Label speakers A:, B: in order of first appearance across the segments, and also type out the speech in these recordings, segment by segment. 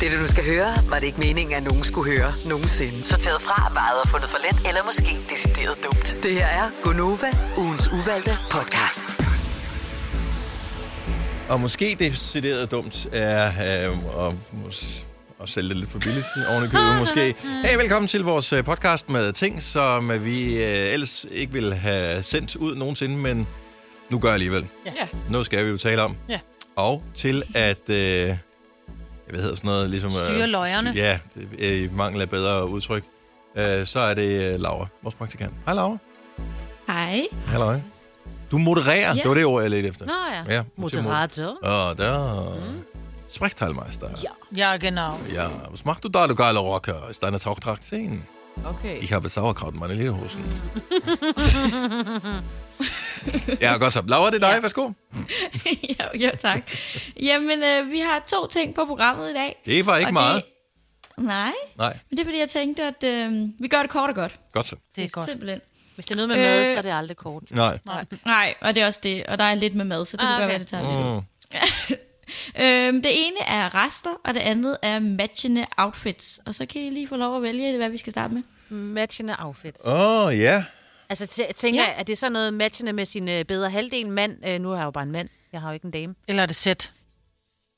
A: Det, du skal høre, var det ikke meningen, at nogen skulle høre nogensinde.
B: Sorteret fra, vejet og fundet for let, eller måske decideret dumt.
A: Det her er Gonova, ugens uvalgte podcast.
C: Og måske decideret dumt er øh, at, mås- at sælge det lidt for billigt oven i købet, måske. Hey, velkommen til vores øh, podcast med ting, som øh, vi øh, ellers ikke ville have sendt ud nogensinde, men nu gør jeg alligevel.
D: Ja.
C: Nu skal vi jo tale om.
D: Ja.
C: Og til at... Øh, hvad hedder sådan noget? Ligesom, øh,
D: Styre løjerne.
C: styr- Ja, det, øh, i mangel af bedre udtryk. Øh, så er det øh, Laura, vores praktikant. Hej, Laura.
E: Hej.
C: Hej, Laura. Du modererer.
D: Ja.
C: Det var det ord, jeg ledte efter.
D: Nå ja.
C: Ja,
D: Moderator.
C: Ah, da. Sprechteilmeister. Ja.
D: Ja, genau.
C: was machst du da, du øh, geiler Rocker? Ist deine Tauchtracht sehen?
D: Okay.
C: Ich habe Sauerkraut in meine Lederhosen. ja, godt så. Laura, det er dig. Ja. Værsgo.
E: ja, ja, tak. Jamen, øh, vi har to ting på programmet i dag.
C: Det var ikke
E: Og
C: meget.
E: Det, nej,
C: Nej,
E: men det er fordi, jeg tænkte, at øh, vi gør det kort og godt.
C: godt så.
D: Det er godt.
E: Simpelthen.
F: Hvis det er noget med mad,
E: Øh.
F: så er det aldrig kort.
C: Nej.
E: Nej, og det er også det. Og der er lidt med mad, så det ah, kan
F: Ah,
E: godt
F: okay.
E: være, det tager lidt.
C: Mm.
E: Øhm, det ene er rester, og det andet er matchende outfits. Og så kan I lige få lov at vælge, hvad vi skal starte med.
F: Matchende outfits.
C: Åh, oh, ja.
F: Altså, tæ- jeg tænker
E: Ja.
F: jeg, er det så noget matchende med sin øh, bedre halvdel mand? Øh, nu har jeg jo bare en mand. Jeg har jo ikke en dame.
D: Eller er det sæt?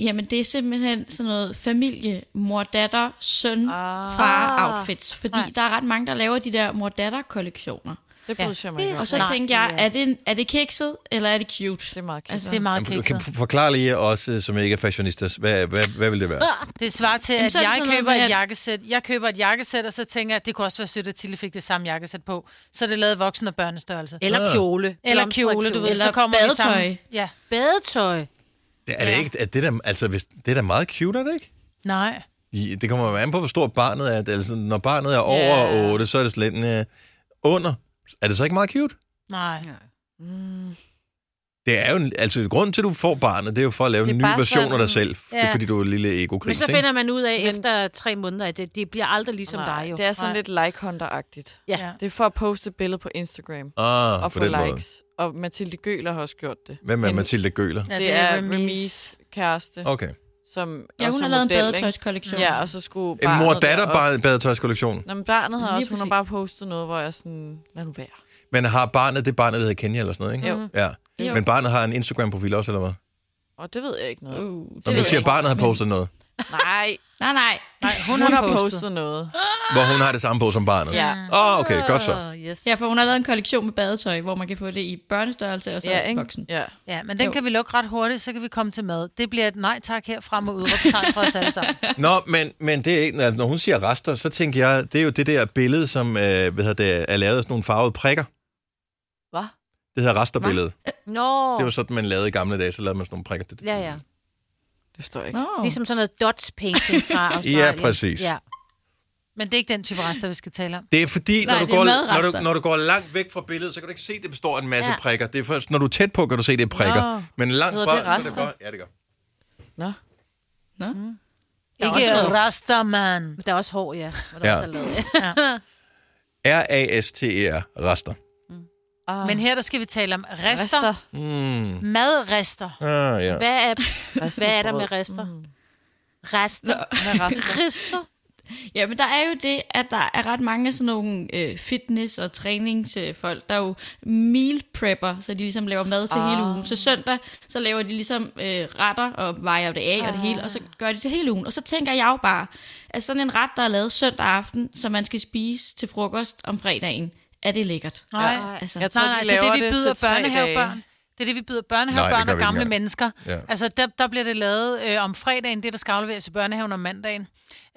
E: Jamen, det er simpelthen sådan noget familie, mor, datter, søn, ah, far outfits. Fordi nej. der er ret mange, der laver de der mor, datter kollektioner.
G: Det bryder jeg mig
F: det-
G: ikke om.
E: Og så
F: Nej,
E: tænkte jeg,
F: ja.
E: er det, er det kikset, eller er det cute?
G: Det er meget kæft.
E: Altså,
D: Det er meget
C: Jamen,
D: kikset.
C: Kan f- forklare lige os, øh, som ikke er fashionistas, hvad, hvad, hvad vil det være?
D: Det svarer til, at
E: så er det sådan
D: jeg
E: noget
D: køber
E: med,
D: et
E: at-
D: jakkesæt. Jeg køber et jakkesæt, og så tænker jeg, at det kunne også være sødt, at Tilly fik det samme jakkesæt på. Så er det lavet voksen- og børnestørrelse.
F: Eller
C: Ah.
F: kjole.
D: Eller
F: Blomstret
D: kjole, du ved.
E: Eller
D: så kommer vi sammen-
E: badetøj.
D: Ja.
F: Badetøj.
C: Det er det ikke, er det, der, altså, hvis, det er da meget cute, er det ikke?
D: Nej.
C: I- Det kommer jo an på, hvor stort barnet er. Altså, når barnet er over
D: Ja.
C: 8, så er det slet øh, under. Er det så ikke meget cute?
D: Nej.
C: Det er jo en, altså grunden til, at du får barnet, det er jo for at lave
G: Det er
C: en ny
G: bare
C: version af dig
G: sådan-
C: selv. Ja. Det er
F: Ja.
C: fordi, du er en lille ego
F: Men
C: ikke?
F: så finder man ud af
G: Men-
F: efter tre måneder, at det, det bliver aldrig ligesom dig jo.
G: Det er sådan
D: Nej.
G: lidt like agtigt
F: Ja.
D: Ja.
G: Det er for at poste et billede på Instagram
C: ah,
G: og,
C: og
G: få
C: på den måde.
G: likes. Måde. Og Mathilde Gøler har også gjort det.
C: Hvem er
G: Hende-
C: Mathilde Gøler?
D: Ja,
G: det, det er Remis kæreste, okay.
C: Okay.
G: som
E: Ja,
G: også
E: hun
G: er
E: har lavet en
G: model, ikke?
E: badetøjskollektion.
G: Ja, og så skulle
C: En
G: barnet
C: mor-datter
G: der også-
C: badetøjskollektion.
G: Nå, men barnet har
E: Lige
G: også, hun har
E: præcis.
G: bare postet noget, hvor jeg sådan, lad nu være.
C: Men har barnet det barnet, der hedder Kenya eller sådan noget, ikke?
G: Jo.
C: Ja.
E: Jo.
C: Men barnet har en Instagram-profil også, eller hvad?
G: Og det ved jeg ikke noget. Uh.
E: Uh, det
C: Når
E: ved
C: man
E: jeg
C: siger, at
E: ikke.
C: barnet har postet noget,
G: Nej,
E: Nej, nej.
D: Nej, hun,
G: hun har
D: har postet.
G: postet noget.
C: hvor hun har det samme på som barnet.
G: Ja,
C: Åh, oh, okay, godt så.
F: Åh, yes.
E: Ja, for hun har lavet en kollektion med badetøj, hvor man kan få det i børnestørrelse og så
G: ja,
E: ja,
G: ikke?
E: voksen.
G: Ja.
D: Ja, men den kan vi lukke ret hurtigt, så kan vi komme til mad. Det bliver et nej tak herfra med udråbstegn for os alle sammen.
C: Nå, men, men det er ikke, når hun siger rester, så tænker jeg, det er jo det der billede, som øh, hvad hedder det, er lavet af sådan nogle farvede prikker.
G: Hvad?
C: Det hedder resterbilledet.
F: Nå.
C: Det var sådan, man lavede i gamle dage, så lavede man sådan nogle prikker.
F: Ja, ja.
G: Det står ikke.
E: Nå,
F: Ligesom sådan noget dots painting fra Australien.
C: præcis.
F: Ja.
D: Men det er ikke den type rester, vi skal tale om.
C: Det er fordi, når,
E: Nej,
C: du
E: det er
C: går, når,
E: madrester.
C: du, når du går langt væk fra billedet, så kan du ikke se, at det består af en masse ja.
F: Ja.
C: prikker. Det er først, når du er tæt på, kan du se, at det er prikker. Nå. Men langt
G: Hedder
C: fra,
G: det
C: så er det
G: rester?
C: bare... Ja, det gør.
G: Nå.
D: Ikke rester, man.
F: Men Der er også hår, ja. Hvor der
C: Ja.
F: ja. Også er lavet.
C: R-A-S-T-E-R, E rester.
G: Ah,
D: Men her der skal vi tale om rester. rester.
C: Mm.
D: Madrester.
C: Ah, ja.
F: Hvad er,
G: Restebrød.
F: hvad er der med rester? Rester.
G: Hvad rester?
F: Rester.
E: ja, men der er jo det, at der er ret mange af sådan nogle øh, fitness- og træningsfolk, der er jo meal prepper, så de ligesom laver mad til ah. hele ugen. Så søndag, så laver de ligesom øh, retter og vejer det af ah. og det hele, og så gør de det hele ugen. Og så tænker jeg jo bare, at sådan en ret, der er lavet søndag aften, som man skal spise til frokost om fredagen, er det lækkert.
D: Nej.
E: Altså,
G: Jeg tror,
D: Nej, nej,
G: de
D: det er
G: laver
D: det, vi
G: det
D: byder
G: til tre
D: børnehavebørn. Det er det, vi byder
C: Nej, det
D: børnehavebørn
C: gør
D: og
C: vi ikke
D: gamle
C: engang.
D: mennesker.
C: Ja.
D: Ja. Altså, der, der bliver det lavet øh, om fredagen, det, der skal afleveres i børnehaven om mandagen.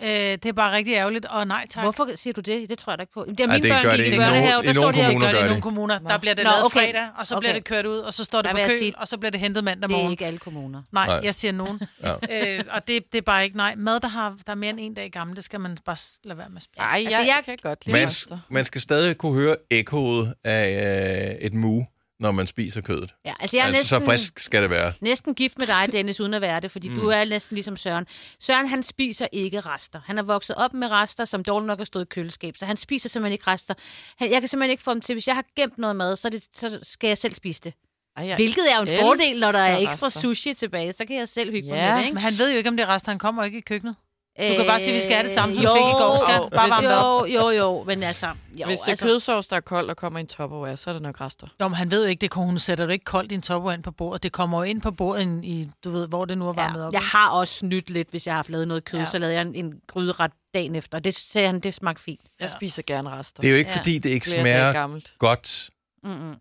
D: Øh, det er bare rigtig ærgerligt, og nej tak.
F: Hvorfor siger du det? Det tror jeg da ikke på. Jamen, Det er
C: Ej,
F: mine
C: det
F: børn,
C: gør
F: gik
C: det
F: i
C: ikke. I
F: børnehave,
C: nogen-
F: der
C: i
F: står
C: nogen
F: de her
D: Det
F: i
C: kommuner
D: gør det i
C: gør
D: nogle
C: det.
D: kommuner. Der bliver det
F: Nå,
D: lavet
F: okay.
D: fredag, og så bliver
F: Okay.
D: det kørt ud, og så står det
F: Der
D: på
F: vil jeg
D: køl,
F: sige-
D: og så bliver det hentet mandag
F: Det er
D: morgen.
F: ikke alle kommuner.
D: Nej,
C: Nej.
D: jeg siger nogen. ja. øh, og det, det er bare ikke nej. Mad, der, har, der er mere end en dag gammel, det skal man bare s- lade være med at spise.
G: Ej, jeg,
F: Altså,
G: jeg
F: jeg-
G: kan godt lide
C: Man,
G: rester.
C: man skal stadig kunne høre ekkoet af øh, et mu, når man spiser kødet.
F: Ja, altså jeg er
C: altså,
F: næsten,
C: så frisk skal det være.
F: næsten gift med dig, Dennis, uden at være det, fordi mm. du er næsten ligesom Søren. Søren, han spiser ikke rester. Han er vokset op med rester, som dårligt nok har stået i køleskab, så han spiser simpelthen ikke rester. Han, jeg kan simpelthen ikke få dem til, hvis jeg har gemt noget mad, så, er det, så skal jeg selv spise det.
G: Ej, jeg
F: Hvilket er jo en
G: elsker
F: fordel, når der er ekstra
G: rester.
F: sushi tilbage, så kan jeg selv hygge mig
G: Ja.
F: med det, ikke?
D: Men han ved jo ikke, om det er rester, han kommer ikke i køkkenet. Du kan bare sige, vi skal have det samme, som vi
F: jo,
D: fik i går. Skal bare varme det
F: jo, jo, jo, men altså... Jo,
G: Hvis det er
F: altså,
G: kødsovs, der er kold og kommer i en topperware, så er det nok rester.
D: Nå, men han ved jo ikke, det kunne hun sætter det ikke koldt i en topper ind på bordet. Det kommer jo ind på bordet i, i du ved, hvor det nu er varmet
F: ja.
D: op.
F: Jeg har også snydt lidt, hvis jeg har haft lavet noget kød,
D: Ja.
F: ja. så lavede jeg en, en gryderet dagen efter. Og det sagde han, det smagte fint.
G: Jeg spiser gerne rester.
C: Det er jo ikke,
F: Ja.
C: fordi det ikke
G: Flere dage
C: smager
G: gammelt.
C: godt.
F: Mm-mm.
C: Jeg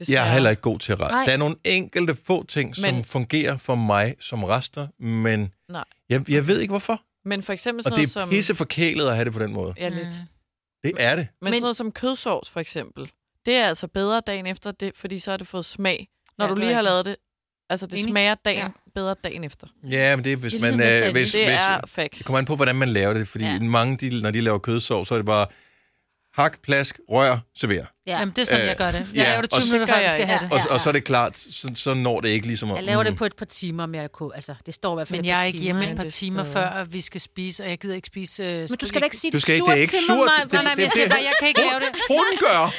C: er
G: smager-
C: heller ikke god til ret.
F: Nej.
C: Der er nogle enkelte få ting, som
G: Men-
C: fungerer for mig som rester, men
G: Nej.
C: jeg, jeg ved ikke hvorfor.
G: Men for eksempel
C: Og
G: sådan
C: det
G: noget
C: er
G: som...
C: pisse forkælet at have det på den måde.
G: Ja, lidt.
C: Det er det.
G: Men, men
F: Men-
G: sådan noget som kødsovs, for eksempel, det er altså bedre dagen efter, det, fordi så har det fået smag. Når
D: Ja,
G: ja, du
D: det er
G: lige har
D: rigtigt.
G: lavet det, altså det
D: Enig.
G: smager dagen,
E: Ja.
G: ja. bedre dagen efter.
C: Ja, men det er, hvis
E: Det er
C: man...
E: ligesom med
C: øh,
E: salt.
C: hvis,
G: Det
C: hvis,
G: er facts.
C: det kommer an på, hvordan man laver det, fordi ja.
D: Ja.
C: mange, de, når de laver kødsov, så er det bare hak, plask, rør, server.
F: Ja.
D: Jamen, det er sådan, jeg gør det. Jeg
C: ja,
D: laver det
C: og
D: 20
C: så-
D: minutter, før vi skal
G: Ja.
D: have det.
C: Og, ja, og så er det klart, så, så når det ikke ligesom... at-
F: Jeg laver det
C: mm.
F: på et par timer, men jeg kunne, altså, det står i hvert fald
D: Men
F: et
D: jeg
F: par
D: er ikke
F: timer,
D: hjemme et
F: ikke?
D: par
G: det
D: timer
G: sted.
D: før, at vi skal spise, og jeg gider ikke spise... Øh,
F: Men du skal da ikke sige,
C: Du skal
F: det
C: ikke, det er
F: surt
C: ikke
F: til
C: surt.
F: mig,
C: Det-
D: Nej, nej, men jeg
C: det-
D: siger
C: det-
D: bare, jeg kan ikke lave det.
C: Hun gør!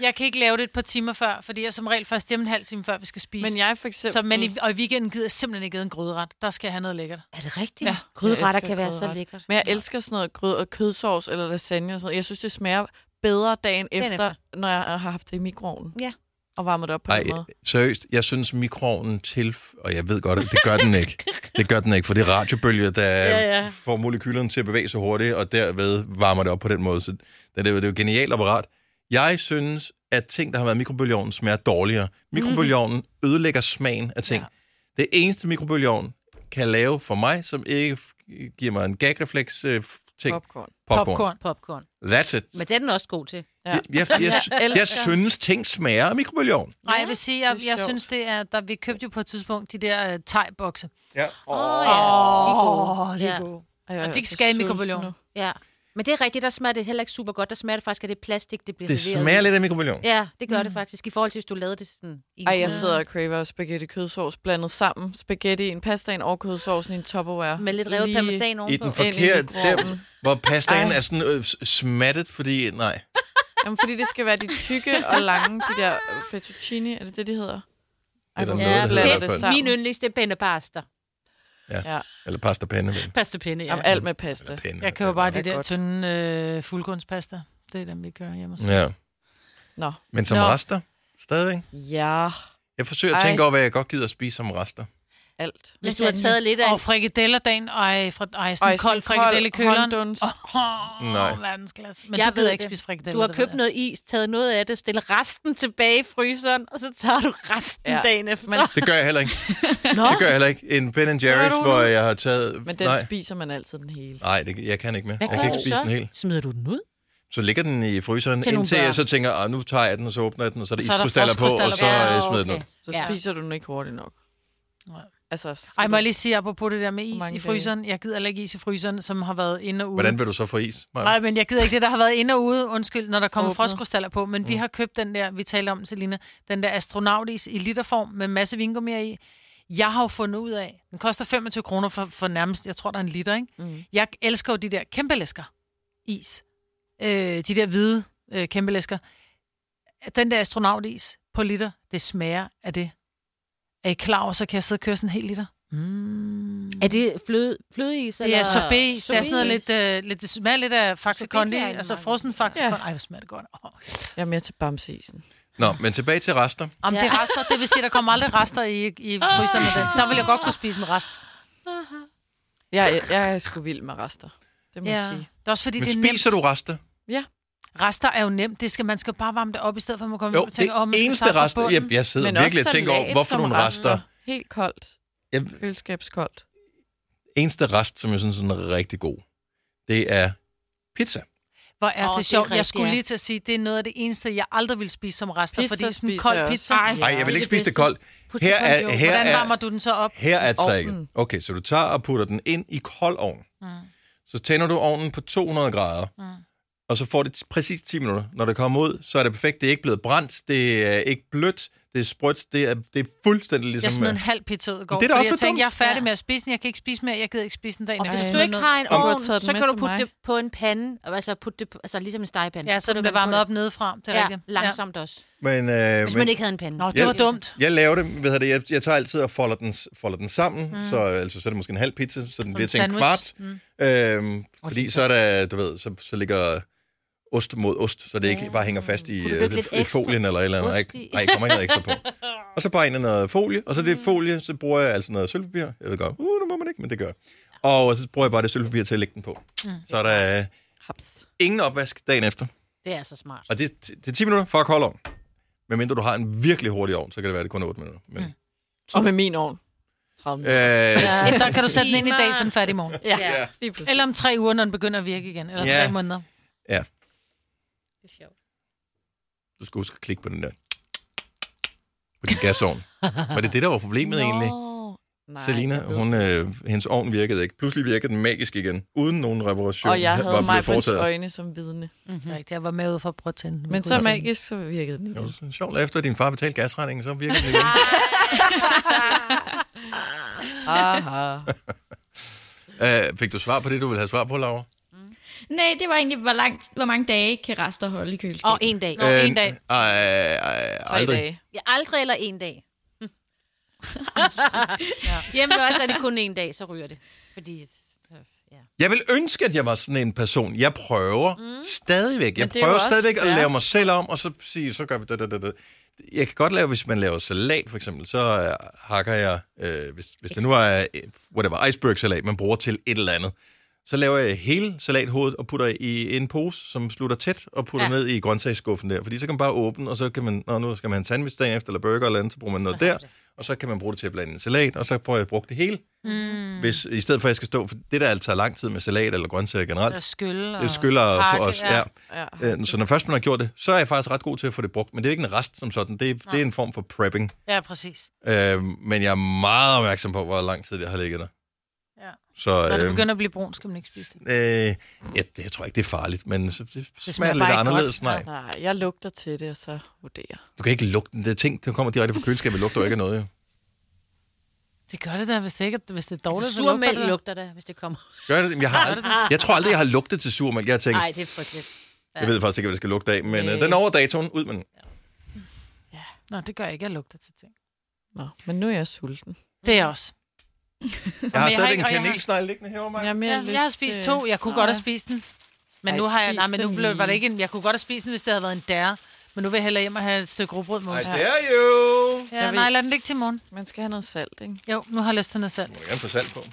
D: Jeg kan ikke lave det et par timer før, fordi jeg er som regel først hjemme en halv time før, vi skal spise.
G: Men jeg for eksempel... Mm.
D: så, men i, og i weekenden gider jeg simpelthen ikke æde en gryderet. Der skal jeg have noget lækkert.
F: Er det rigtigt?
G: Ja,
F: Ja.
G: jeg
F: Gryderetter
G: elsker
F: kan være så
G: gryderet.
F: lækkert.
G: Men jeg elsker sådan noget grød og kødsovs eller lasagne og sådan noget. Jeg synes, det smager bedre dagen efter, efter,
F: efter.
G: når jeg har haft det i mikroovnen.
F: Ja.
G: Og varmet det op på
C: Nej,
G: den måde.
C: seriøst, jeg synes mikroovnen til... Og jeg ved godt, at det gør den ikke. Det gør den ikke, for det er radiobølger, der ja, ja. får molekylerne til at bevæge sig hurtigt, og derved varmer det op på den måde. Så det, er- det er jo et genialt apparat. Jeg synes, at ting, der har været i mikrobølgeovnen, smager dårligere. Mikrobølgeovnen ødelægger smagen af ting. Ja. Det eneste mikrobølgeovn kan lave for mig, som ikke f- giver mig en gagrefleks øh, f- ting,
G: Popcorn.
C: popcorn. popcorn.
D: Popcorn.
F: Popcorn.
C: That's it.
F: Men den er den også god til.
G: Ja.
C: Jeg, jeg, jeg, jeg, jeg
G: elsker-
C: synes, ting smager af mikrobølgeovn.
D: Nej, jeg vil sige, jeg,
G: det er
D: jeg
G: sjovt.
D: synes, det er... Der, vi købte jo på et tidspunkt de der uh, thai-bokse.
C: Ja.
F: Åh, ja. De er gode. Ja.
G: Ej, jeg er
D: Og de
G: så
D: skal i
G: sulten
D: mikrobølgeovnen.
G: nu.
F: Ja. Men det er rigtigt, der smager det heller ikke super godt. Der smager det faktisk af det plastik, det bliver
C: Det
F: serveret i.
C: smager lidt af mikrobølgeovn.
F: Ja, det gør det faktisk. I forhold til, hvis du lavede det sådan... I
G: Ej, jeg sidder og craver spaghetti kødsovs blandet sammen. Spaghetti, en pastaen og kødsovsen i en topperware.
F: Med lidt revet
G: Lige-
F: parmesan
C: I
F: ovenpå.
C: den
G: ind i
C: forkerte, der,
G: mikroovnen.
C: hvor pastaen
G: Ej.
C: er sådan øh, s- smattet, fordi... Nej.
G: Jamen, fordi det skal være de tykke og lange, de der øh, fettuccine, er det det, de hedder? Ej,
C: der
G: hvor
C: noget, der hedder
G: blander
C: i
G: det
C: hvert fald.
G: sammen.
F: Min yndlings, det er pændepasta.
C: Eller pasta pande. Men.
F: Pasta pinde, ja.
G: Jamen, alt med pasta.
C: Eller pande.
D: Jeg køber bare de
G: det er
D: der
G: godt.
D: tynde øh, fuldkornspasta. Det er dem, vi gør hjemme. hos os.
C: Ja.
G: Nå.
C: Men som
D: Nå.
C: rester, stadigvæk.
G: Ja,
C: Jeg forsøger at
G: Ej.
C: tænke over, hvad jeg godt gider at spise som rester.
G: alt.
F: Hvis du har taget lidt af...
D: Og frikadeller dagen, og ej, fra, ej, sådan
G: Ej,
D: en kold frikadelle i køleren.
G: håndduns.
D: Oh,
C: Nej.
D: verdensklasse. Men
F: Jeg
D: jeg du gider
F: ved
D: ikke
F: det.
D: spise frikadeller.
F: Du har
D: det
F: købt
D: ved jeg.
F: noget is, taget noget af det, stillet resten tilbage i fryseren, og så tager du resten
G: Ja.
F: ja. dagen efter.
G: Men-
F: Men,
C: Det gør jeg heller ikke.
F: Nå,
C: Det gør jeg heller ikke. En Ben Jerry's,
G: Gør du
C: hvor
G: nu?
C: jeg har taget...
G: Men den
C: Nej,
G: spiser man altid den hele.
C: Nej det, jeg kan ikke mere.
F: Hvad
C: jeg
F: gør
C: kan ikke
F: du
C: spise
F: så?
C: den helt.
F: smider du den ud?
C: Så ligger den i fryseren,
F: Til nogle
C: indtil jeg
F: børn.
C: så tænker, "Ah, nu tager jeg den, og så åbner jeg den, og så er der
D: Så er der
C: iskrystaller på, og så
D: frostkrystaller
C: øh,
D: på.
C: smider jeg den ud.
G: Så
F: Ja.
G: spiser du den ikke hurtigt nok.
D: Nej.
G: Altså, så
D: Ej, må jeg lige sige apropos det der med is
G: mange
D: i fryseren. Jeg gider heller ikke is i fryseren, som har været inde og ude.
C: Hvordan vil du så få is? Maja?
D: Nej, men jeg gider ikke det, der har været inde og ude, undskyld, når der kommer
G: Åbnet.
D: frostkrystaller på. Men vi har købt den der, vi talte om, Selina, den der astronautis i literform med en masse vingummier i. Jeg har jo fundet ud af, den koster 25 kroner for, for nærmest, jeg tror, der er en liter, ikke?
G: Mm.
D: Mm. Jeg elsker jo de der kæmpe læsker is. Øh, de der hvide øh, kæmpe læsker. Den der astronautis på liter, det smager af det. Er I klar over, så kan jeg sidde og køre sådan en hel liter? Mm.
F: Er det fløde, flødeis?
D: Det
F: eller?
D: er sorbet. Det er sådan noget
F: Sorbet.
D: lidt, øh, lidt det smager lidt af Faxe
F: Sorbet
D: Kondi,
F: kan jeg ikke
D: altså
F: mange.
D: frossen Faxe
G: Ja.
D: Kondi. Ej, hvor smager det godt. Oh.
G: Jeg er mere til bamseisen.
C: Nå, men tilbage til rester.
D: Om ja. Ah. det er rester, det vil sige, der kommer aldrig rester i, i fryseren af den. Der vil jeg godt kunne spise en rest.
G: Jeg, jeg, jeg er sgu vild med rester. Det må ja. jeg sige.
D: Det er også fordi,
C: Men
D: det er
C: spiser du
D: nemt.
C: rester?
G: Ja.
D: Rester er jo nemt. Det skal, man skal bare varme det op, i stedet for at man kommer
C: Jo,
D: hjem og tænker, åh, oh, man
C: det
D: skal
C: eneste
D: starte fra
C: rester...
D: bunden."
C: Jeg, jeg sidder virkelig og tænker over,
G: salat
C: hvorfor
G: som
C: nogle rester...
G: Helt koldt.
C: Jeg,
G: Køleskabskoldt.
C: eneste rest, som jeg synes sådan er rigtig god, det er pizza.
D: Hvor er
F: Åh, det
D: det
F: er
D: sjovt. Jeg
F: rigtigt,
D: skulle
F: ja.
D: lige til at sige, det er noget af det eneste, jeg aldrig vil spise som rester,
G: Pizza
D: pizza fordi sådan en
G: spiser jeg
D: kold
G: også.
D: pizza.
C: Nej,
F: Ej, det
C: jeg
F: er
C: vil
F: det
C: ikke spise det
F: bedste.
C: koldt.
F: Put
C: Her
F: det på en
C: er,
F: jord.
C: her
D: Hvordan
C: er, Ligesom,
D: varmer du den så op?
C: her er tricket.
G: Ovnen.
C: Okay, så du tager og putter den ind i kold ovn. Mm. Så tænder du ovnen på 200 grader. Mm. Og så får det præcis 10 minutter. Når det kommer ud, så er det perfekt. Det er ikke blevet brændt. Det er ikke blødt. det er sprødt, det er, det er fuldstændig ligesom...
D: Jeg smed en halv pizza ud i går,
C: Det er da
D: fordi
C: også
D: jeg
C: så
D: tænkte,
C: dumt.
D: jeg er færdig med at spise den, jeg kan ikke spise mere, jeg gider ikke spise den dagen.
F: Og
D: efter.
F: hvis
D: Så
F: du
D: smed
F: ikke
D: den
F: har en
G: Og-
F: ovn,
G: Du har taget den
F: så
G: med
F: kan du
G: til
F: putte
G: mig.
F: det på en pande, og altså putte det på, altså ligesom en stegepande.
D: ud. Ja, så
F: putter
D: den
F: man
D: blev varmet
F: på
D: op nedefra, det er
F: Ja,
D: rigtigt.
F: langsomt også.
C: Men, øh,
F: Hvis
C: men,
F: man ikke havde en pande.
D: Ja. Nå, det
C: Jeg-
D: var dumt.
C: Jeg laver det, ved det, jeg, jeg tager altid og folder den, folder den sammen, mm. så, altså, så er det måske en halv pizza, så den
D: en
C: bliver til en kvart.
D: sandwich.
C: Mm. Øhm, fordi så er der, du ved, så, så ligger ost mod ost, så det ikke bare hænger fast i,
F: Kunne du
C: øh,
F: lægge lidt
C: i
F: ekstra
C: folien eller et eller andet.
F: ost
C: Ej,
F: i? Mm.
C: Nej, kommer ikke noget ekstra på. Og så bare ind i noget folie, og så det folie, så bruger jeg altså noget sølvpapir. Jeg ved godt, uh, det må man ikke, men det gør jeg. Og så bruger jeg bare det sølvpapir til at lægge den på. Mm. Så er der øh,
G: Haps.
C: ingen opvask dagen efter.
F: Det er så smart.
C: Og det, det er 10 minutter for at kolde ovn. Medmindre du har en virkelig hurtig ovn, så kan det være, at det kun er 8 minutter. Men, mm.
G: Og med min ovn. 30
C: øh, ja.
D: Ja, der kan du sætte den ind i dag, så den er færdig i morgen.
G: Ja,
C: Ja.
G: lige præcis.
D: Eller om tre uger, når den begynder at virke igen. Eller
C: Ja.
D: tre måneder.
C: Du skal huske at klikke på den der. På din gasovn. Var det det, der var problemet Nå, egentlig?
G: Nej,
C: Selina,
G: jeg ved
C: hun, øh, hendes ovn virkede ikke. Pludselig virkede den magisk igen, uden nogen reparation.
G: Og jeg
C: var
G: havde
C: blevet
G: mig på
C: foretaget.
G: øjne som vidne.
D: Det er rigtigt, jeg var med ude for at prøve at tænde. den.
G: Men så magisk, så virkede den
C: Det var
G: ikke.
C: så sjovt, efter din far betalte gasregningen, så virkede den igen.
G: Aha.
C: Æh, Øh, fik du svar på det, du ville have svar på, Laura?
E: Nej, det var egentlig, hvor, langt, hvor mange dage kan rester holde i køleskabet.
F: Og en dag.
D: Nå, en dag.
C: Øh, øh, øh,
G: Tre
C: aldrig.
G: dage.
F: Ja, aldrig eller en dag. ja. Hjemme også er det kun en dag, så ryger det. Fordi, ja.
C: Jeg vil ønske, at jeg var sådan en person. Jeg prøver mm. stadigvæk. Jeg
G: Men det er jo
C: prøver
G: også
C: stadigvæk at
G: fair.
C: lave mig selv om, og så sige, så gør vi det, det, det, det. Jeg kan godt lave, hvis man laver salat, for eksempel, så øh, hakker jeg, øh, hvis, hvis det nu er, øh, whatever, iceberg-salat, man bruger til et eller andet, så laver jeg hele salathovedet og putter i en pose, som slutter tæt, og putter ja.
F: Ja.
C: ned i grøntsagsskuffen der. Fordi så kan man bare åbne, og så kan man, nå, nu skal man have en sandwich dagen efter, eller burger eller andet, så bruger man noget der, og så kan man bruge det til at blande en salat, og så får jeg brugt det hele. Mm. Hvis, I stedet for, at jeg skal stå, for det der altså tager lang tid med salat eller grøntsager generelt,
D: Der skyld.
C: det skylder på
D: pakke,
C: os. Ja.
D: ja.
G: Ja.
C: Øh, Så når først man har gjort det, så er jeg faktisk ret god til at få det brugt. Men det er ikke en rest som sådan. Det er, det er en form for prepping.
D: Ja, præcis.
C: Øh, Men jeg er meget opmærksom på, hvor lang tid det har ligget der.
D: Ja.
C: Så
D: Når det
C: øh,
D: begynder at blive brun, skal man ikke spise det.
C: øh, ja, det, jeg tror ikke, det er farligt, men så, det, det smager
D: smager
C: lidt
D: bare ikke
C: anderledes.
D: godt.
C: Nej.
G: Nej, jeg lugter til det, og så vurderer.
C: Du kan ikke lugte den. Det er ting, der kommer direkte fra køleskabet, lugter jo ikke af noget. Jo.
D: Det gør det da, hvis det, ikke, er- hvis det er dårligt. så lugter det
F: Surmælk
D: da.
F: lugter det, hvis det kommer.
C: Gør det? Jamen, Jeg, har aldrig, jeg tror aldrig, jeg har lugtet til surmælk. Jeg har tænkt,
F: Nej, det er frygteligt.
C: jeg ved faktisk ikke, hvad det skal lugte af, men øh, den er over datoen, ud med den.
D: Nå, det gør jeg ikke. Jeg lugter til ting.
G: Nå, men nu er jeg sulten.
D: Det er jeg også.
C: Jeg har
D: jeg har
C: stadig
D: ikke-
C: en
D: og jeg har-
C: kanelsnegl liggende herovre,
G: Jeg, er
C: Maja.
G: mere
D: Jeg, jeg har
G: lyst
D: spist
G: til-
D: to. Jeg kunne
G: Nej.
D: godt have spist den. Men
G: Ej,
D: nu har jeg...
G: spis
D: Nej, men nu
G: den
D: blev, var det
G: lige.
D: ikke en... Jeg kunne godt have spist den, hvis det havde været en dære. Men nu vil jeg hellere hjem og have et stykke rugbrød med.
C: I
D: ost.
C: stare you!
D: Ja, nej, lad den ligge til i morgen.
G: Man skal have noget salt, ikke?
D: Jo, nu har jeg lyst til noget salt.
C: Du må gerne få salt på.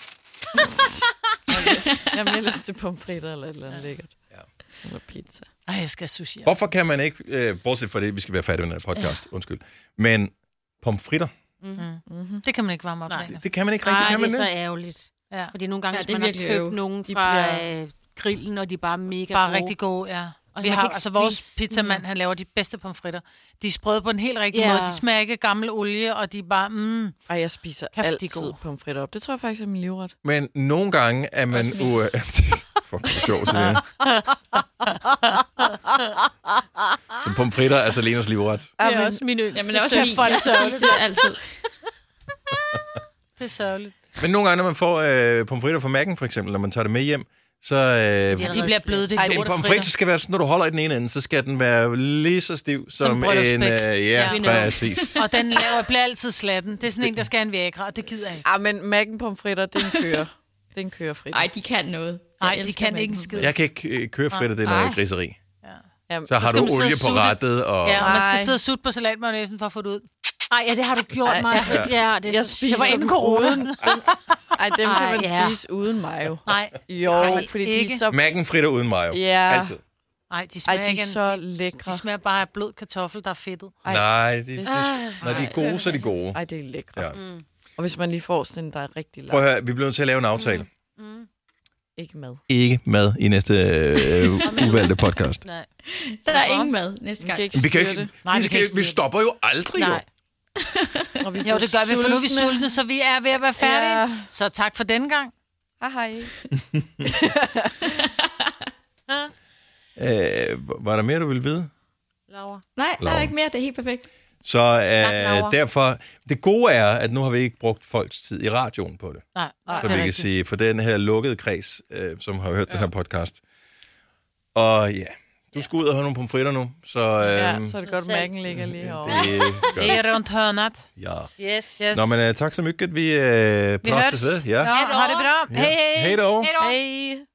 G: Jamen, jeg har lyst til pomfritter eller et eller andet lækkert. Ja. Eller pizza.
D: Ej, jeg skal have sushi. Ja.
C: Hvorfor kan man ikke, øh, bortset fra det, vi skal være færdige med den her podcast, undskyld, men pomfritter,
D: Det kan man ikke varme op med.
C: det, det kan man ikke rigtigt,
F: Nej,
C: kan man
F: det er så
C: det?
F: ærgerligt.
D: Ja.
F: Fordi nogle gange,
E: Ja,
F: ja,
E: det er
F: man har
E: virkelig
F: købt
E: øv.
F: nogen
G: De
F: fra
G: bliver-
F: øh, grillen, og de er bare mega
D: Bare
F: gode.
D: rigtig gode, ja.
F: Og
D: Vi
F: man kan
D: har,
F: ikke
D: altså vores
F: spise
D: pizzamand, han laver de bedste pomfritter. De er sprøde på den helt rigtige
F: Ja.
D: måde. De smager ikke af gammel olie, og de er bare, mm,
G: Ej, jeg spiser
D: Kæft, de er
G: altid
D: gode.
G: pomfritter op. Det tror jeg faktisk er min livret.
C: Men nogle gange er man... u- Fuck, det er sjovt, Selina. Så pomfritter er Selenas livret.
G: Ja,
F: Det er også min øl.
E: Jamen,
F: Det
E: også
F: er
E: min.
F: folk
E: Jeg
F: sørger.
E: spiser det altid.
D: det er sørgeligt.
C: Men nogle gange, når man får øh, pomfritter fra Mac'en, for eksempel, når man tager det med hjem, så... Øh,
D: De bliver bløde, det
G: Ej,
D: er
G: det er
C: en pomfrit
D: lortefritter.
C: skal være sådan, når du holder i den ene ende, så skal den være lige så stiv som
D: bryllupsbæk.
C: en... Øh, ja,
F: Ja.
C: præcis.
D: Og den laver, bliver altid slatten. Det er sådan en, der skal have en viagra, og det gider jeg ikke.
G: Ah, men Mac'en pomfritter, den kører. den kører frit.
E: Nej, de kan noget. Jeg
D: Nej, de
E: elsker
D: kan
E: dem.
D: ikke en skid.
C: Jeg kan ikke øh, køre fritter, det er noget griseri.
G: Jamen,
C: Så har
D: skal
C: du
D: man sidde og
C: olie på
D: sutte.
C: rattet, og...
D: Ja, og man skal
G: Ej.
D: sidde og sutte på salatmagnesen for at få det ud.
F: Ej, ja, det har du gjort, mig. Ja, det,
G: jeg
F: er så,
G: spiser
F: det var inden
G: dem
F: corona.
G: uden. Ej, dem kan
F: Ej,
G: man
F: ja.
G: spise uden mayo.
D: Nej,
G: Jo,
D: Nej,
G: fordi de
D: ikke.
G: er så...
C: Mac'en fritter uden mayo.
G: Ja.
C: Altid.
D: nej, de
G: Ej,
D: smager
G: de
D: ikke
G: er
D: af-
G: så
D: de,
G: lækre.
D: de smager bare af blød kartoffel, der er fedtet.
G: Ej.
C: Nej, de, de, når de er
G: Ej.
C: gode, så er de gode.
G: Ej, det er lækre.
C: Ja.
G: Ja.
D: Mm.
G: Og hvis man lige får sådan en, der er rigtig
C: Prøv
G: lang,
C: at høre, vi bliver nødt til at lave en aftale.
G: ikke mad.
C: Ikke mad i næste øh, uvalgte podcast.
F: Nej.
E: Der er ingen mad næste gang.
G: kan ikke
C: Vi, kan
G: styre
C: ikke,
G: det.
C: Nej, vi,
D: vi
C: kan
D: kan
C: ikke,
D: ikke
C: vi
D: styre det.
C: stopper jo aldrig, jo.
F: Nej.
G: Og vi
D: Jo, det gør vi, for nu er vi sultne, så vi er ved at være færdige.
G: Ja.
D: Så tak for denne gang.
G: Hej, hej.
C: Øh, var der mere, du ville vide?
F: Laura.
C: Øh,
E: Nej, der
C: Laura.
E: er ikke mere. Det er helt perfekt.
C: Så
F: Tak, Laura.
C: øh, derfor, det gode er, at nu har vi ikke brugt folks tid i radioen på det.
D: Nej, nej,
C: Så
D: det
C: vi
D: er
C: kan
D: rigtigt.
C: sige, for den her lukkede kreds, øh, som har hørt ja. den her podcast. Og ja, du skal ud og have nogle pomfritter nu, så, øh,
G: Ja, så er det godt, at
F: Salt.
G: mærken ligger lige herovre.
C: det gør
D: Det
C: det.
D: er rundt hörnet.
C: Ja.
F: Yes.
D: Yes.
C: Nå, men øh, tak så mycket. Vi, øh,
D: vi
C: prates
D: høres.
C: ved. Ja.
D: ja. Ha det bra. Hej, hej.
C: Hej då.
D: Hej.